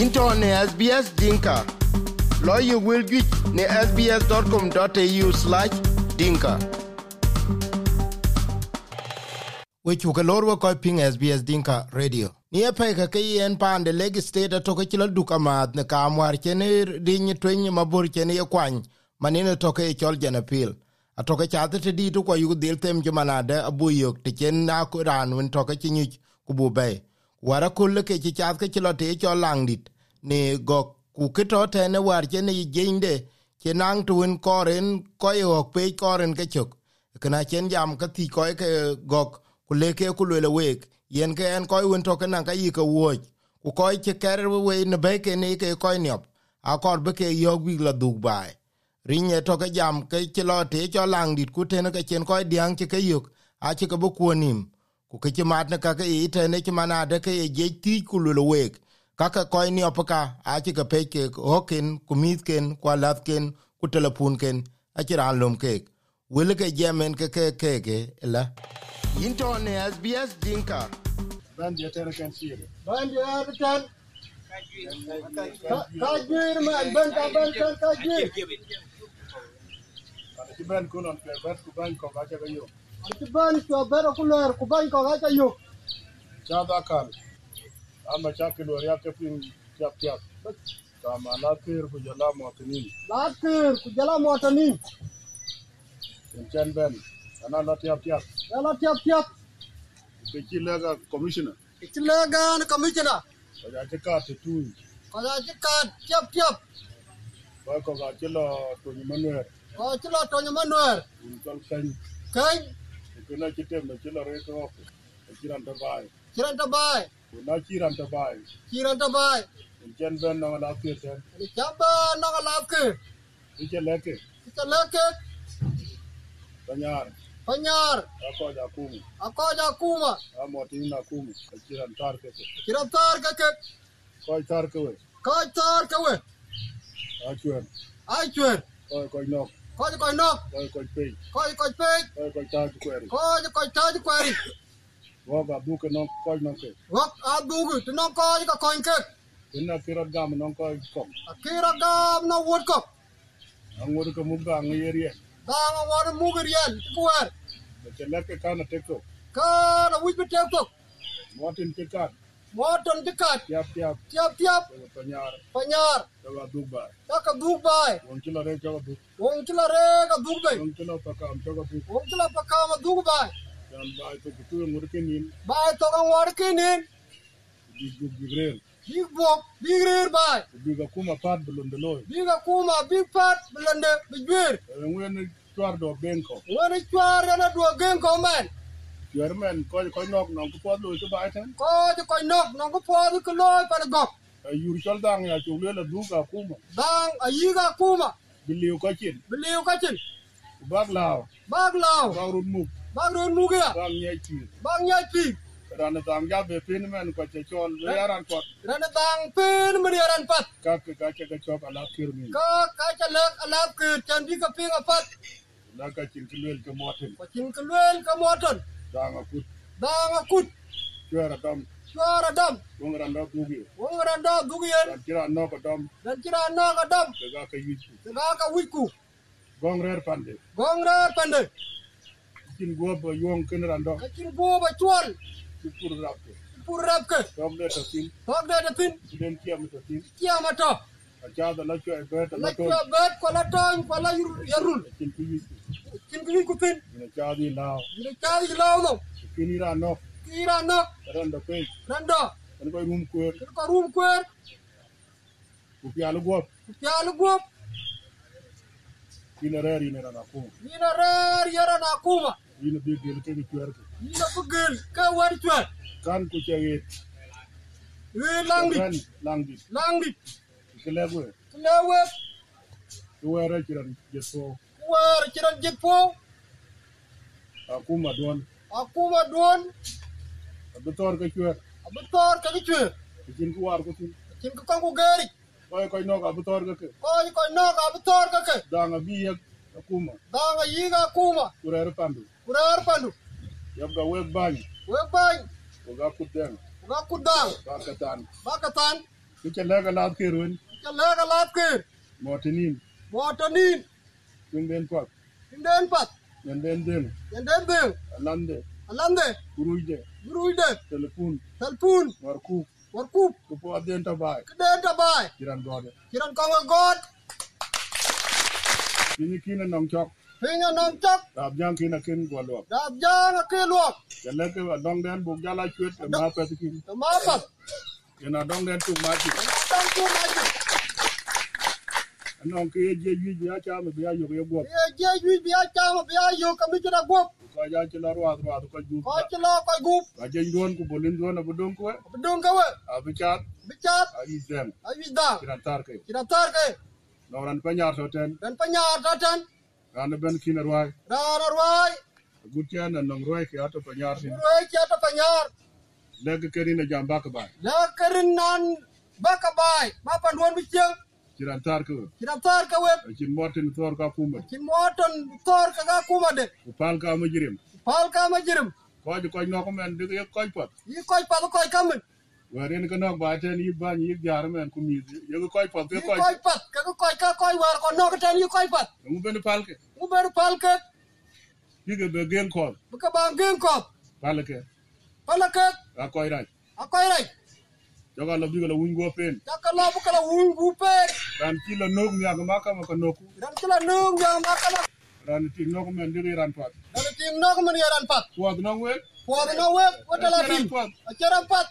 into ne SBS Dinka. Lawyer will get ne sbs.com.au slash dinka. we chuke lor we kɔc piŋ sbs dinka radio ni epɛi keke yen paande legi state atoke ci lɔ duk amaath ne kaam war cen riny tueny mabor cen ye kuany manine toke ye cɔl jen apil atoke cath te diit ku yuk dhil them ci manade abu yok te cen nak raan wen toke ci nyuc ku bu bɛi war akol leke ci cath ke ci lɔ te ye cɔl laŋ dit ne gɔk ku ke tɔ tɛne war cen ye jenyde ci naŋ tewen kɔren kɔye ɔk peic kɔren ke cök kena cen jam ke thic kɔc ke gɔk ku leke ku lwele wek yen ke en koy wen toke nan ka yi ke woj ku koy ke ker we ne be ke ne ke koy nyop a kor be ke yo wi la dug bai rinye toke jam ke ti lo te cho lang dit ku ten ke chen koy diang ti ke yuk a ti ke bu ku nim ku ke ti mat ne ka ke i te ne ti mana de ke ye ti ku lwele wek ka ke koy ni opka a ti ke pe ke hokin ku mit ken ku lat ken ku telepun ken a ti ran lom kek wele ke jemen ke ke ke ke la into ne SBS Dinka. Bandi ya tere kan siri. Bandi African. Kajir man, banta banta kajir. Ana ki ben kunon pe ben ku ben ko ga ga yo. Kuban ko bero kulor, kuban ko gacha yo. Cha da kan. Ama cha ki lor ya ke pin ya pya. Ta ma na ter ku jala mo tini. Lakir kujala motani. En chen ben. Ana lot ya pya. Yala tiap tiap. Ke ki le ga commissioner. Ichilagan commissioner. Ko ja ti ka ti tu. Kaja chika tiap tiap. Ba ko ga ti lo tu ni manuer. Ko chila tonya manuer. Un tol ken. Kai Ku na ki tem na ti lo re ko. Ki ran ta bai. kiran tabai. Ku na ki ran ta bai. Kiran tabai. En chen ben na na ter ten. Ichaba naga lakir. Ki ke le ke. Ichalake Tanyar. panyar. Ka ko ja kumu. Akoja kuma. Amo tin na kumu. Ki ran tar ke. ke. Kiran tar kake. koy tar kawe Kaj tar kawe. achwer Aichwer. koy koy nok Kaj kaj nok. koy koy pey Kaj kaj pek. koy koy tar kweri Kaj kaj taj kwari. woga buke non koy non ke Wap adugu to no ko ka kon ke. inna kira gam non koy kom Akira gam no wood ko. angor ko muga ngyerie Da ma war mu gerian kuwer. de cheleke kana teko Ka na wit bete ko. motin ke kan Moton dikat. yap yap Tiap tiap ko tanyar panyar. ko duba Ka ka dug bai. won kilo re ko bu Wong kila re ka dug bai. won kilo pa kam to ko bu Wong kila pa ka ma dug bai. dan ba to ku tu ngur ke nin Bai to ka war ke nin. di du gibrer Big bok, big rear bai. di ga kuma pat bulun de loy Big a kuma, big pat, blende, bijbir. ngwen twar do benko Wani chwar na dua gen ko man. yermen koy koy nok non ko pod lo ko baiten Ko ji ko nok no ko po ko loy pa gok. yur chol dang ya chu le la duga kuma Dang ayiga kuma. biliw ko cin Believe kachin. bak law Bag law. bak rut muk Bag ron mugia. bak nye cir Bag nyai pi. ran tang ja be pin men ko che chon le yaran ko Rana dang pin meriaran pat. ka ke ka che ka chok ala kir mi Ka kacha lak alap ke chandi ka ping apat. la ka cin ki lel ke motin Kachin kalwen ka moton. dang a kut Dang akut. chwer dam Chwara dam. wong ran da dugi Wong randa dugien. ran kira no ko dam Dan chira na ka dam. ke ga ke yit Tega ka wiku. gong rer pande Gong ra pande. cin go bo yong ken ran do Kachin bu ba chwal. ki pur rap ke Pur rap ke. dom le to tin Tok de de pin. den kia mi to tin Kia mato. a cha da la chwer be ta la Lek to kwa bet kwa la tong kwa la yur- yarul. cin ki yit Kin kwi kupin. ne cha di law Yire chari jilaw no. kin ran no Kira no. ran da pe Randa. ran ko rum kwer Kir ko rum kwer. ku pya lu go Pialu guop. ina rer ina ran ko Nina rer yara na kuma. ina bi gel ke ni chwer ke Nina bugel ka war chwer. kan ku kan chege We langdi. ran langdi Langdi. kele go Klewe. wera chiran jeso War chiran jipo. akuma don Akuma don. abutor ke chwer Abetor ka gi chwer. kin ku war ku tin Kin ka kangu geri. koy koy no abutor ah, ke Koi koi no ka abetor ka ke. dang ah, abi ye akuma Danga yiga kuma. kurer pandu Kurar pandu. yab ga we ban We bang. ko ga ku den Uga kudang. ka ka tan Bakatan. Kiche lega lad ke ruin. jalega lab kir Motinin. motonin Yung den kwak. inden pat Yung den den. Ah, yenden dhil Alande. alande Kuruide. guruide Telepun. telpun Warku. warkup Kupo aden tabai. kiden tabai Kiran gode. kiran kongo god Kini kina nong chok. pinyo non chok Rabjang kina kin gwalwak. dab janga kilwok Jaleke wa "Ah, dong den buk jala chwet. Ema petikin. to mapat Yana dong den tuk mati. tan tu maji Anong ke ye je yuji ya chame biya yuk ye gwak. ye je yu biya chama biya yu kami kira gop Kwa ya chila ruat ruat kwa juk. ko chilo ko gup Kwa jen duon kubulin duon abudong kwe. bedung kawe Abichat. bicat Aizem. ayus da Kiran tarke. kira tar ke Noran panyar soten. dan panyar datan Rana ben kina ruai. rara ruai Gutian na nong ruai ke ato panyar sin. ruai chata panyar Leg keri na jamba ke bai. la karin nan bakabai mapan duan bicheng Kiran tarke. kira tar kawe Akin morten thor ka kumat. kin moton tor kaga kumade Upal ka majirim. pal kama jirim Kwa ju kwa noko men dik ye koi pot. yi koy pal koy kamen Warin ka nok bai ten yi ban yi jar men kumizi. Ye koi pot yi ke koi. koy pat kaga koy ka koy war ko nok tan yi koy pat Ngu ben pal ke. mu ber pal ke Yige be gen kol. buka bang gen ko Pal ke. pal ke Ka koi rai. akoy rai Joka lo bigo lo wingo pen. taka la buka la wun bu pe Ran kilo nok mi agamaka maka noku. dan kila nung yang makala Ran tik nok men dik ran pot. dan tim nok men yaran pat Kwa nong wen. Puwag na web, wala la tim. Acharan pat.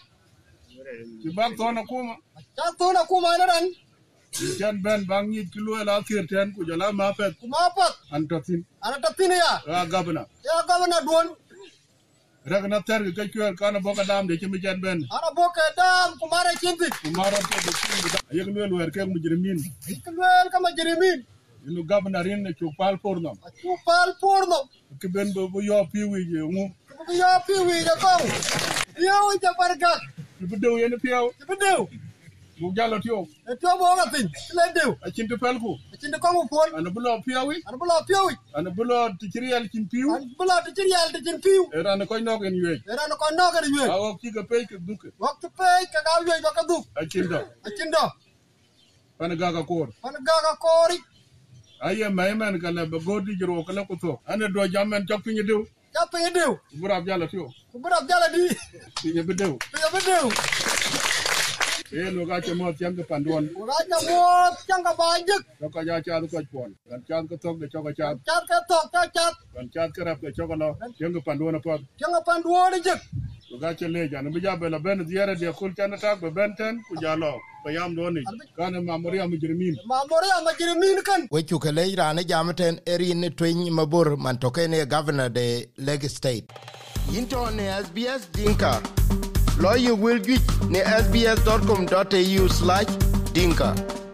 Ti bak thona kuma. Achan to na kumay na ran. Jan ben bang yit ki luwe la kir ten ku jala ma pet Kumapat. an totin Ana tatin ya. ra gabna. Ya gavana duwan. Rek na ter ki kai kwer kana boka dam de chimi jan ben. Ana boke dam kumare chinti. Kumara te de chimi da. Ayek luwe luwe ke mujrimin. Ikulwel kama jirimin. Inu gabna rin ne chuk pal porno. Achupal porno. Ki ben bo bo yo pi wi je ngu. Kubi ya piwi ya kong. Yaw ija pargak. Ki bu dew yen piaw. Kibidew. Bu jalo tio. Etyo boga tin. Kiledew. Achin te pel ku. Achindi kongu pon. Ana bulo piawi. Ana bula piwi. Ana bulo tikiriel chin piu. E Ana bula tichir yal tichin piw. Era na koy nok en yue. Era no kon nogar yue. Awo ki ga pe ki duke. Waktu pey kagaw yue baka duk. Achin da. Achindo. Pana gaga kor. Ana gaga kori. aye mayman kala ba godi jiro kala ko to ane do jamen to pinyi dew Kapa yedew. burab jala to Kubudak jala di. pinyi bedew Piyo bidew. e no ga che mo tiam ke pandon Uraja mot changa bajik. to ka ja cha ko pon kan cha ko to de cho ka cha Char ka tok ka chat. kan cha ke rap ke cho ko no tiam ke pandon pa Changa panduori jik. to ga che le jan bi ja be la ben diere de kul cha na ta be ben ten ku ja lo pa yam do ni kan ma mori am jirmin Mamore ama jirimin kan. we cu ke lei raan ejamten erin ni tueny mabor man token e governor de leg state yin to ne sbs dinka lo ye wel juic ne sbs.com.au dinka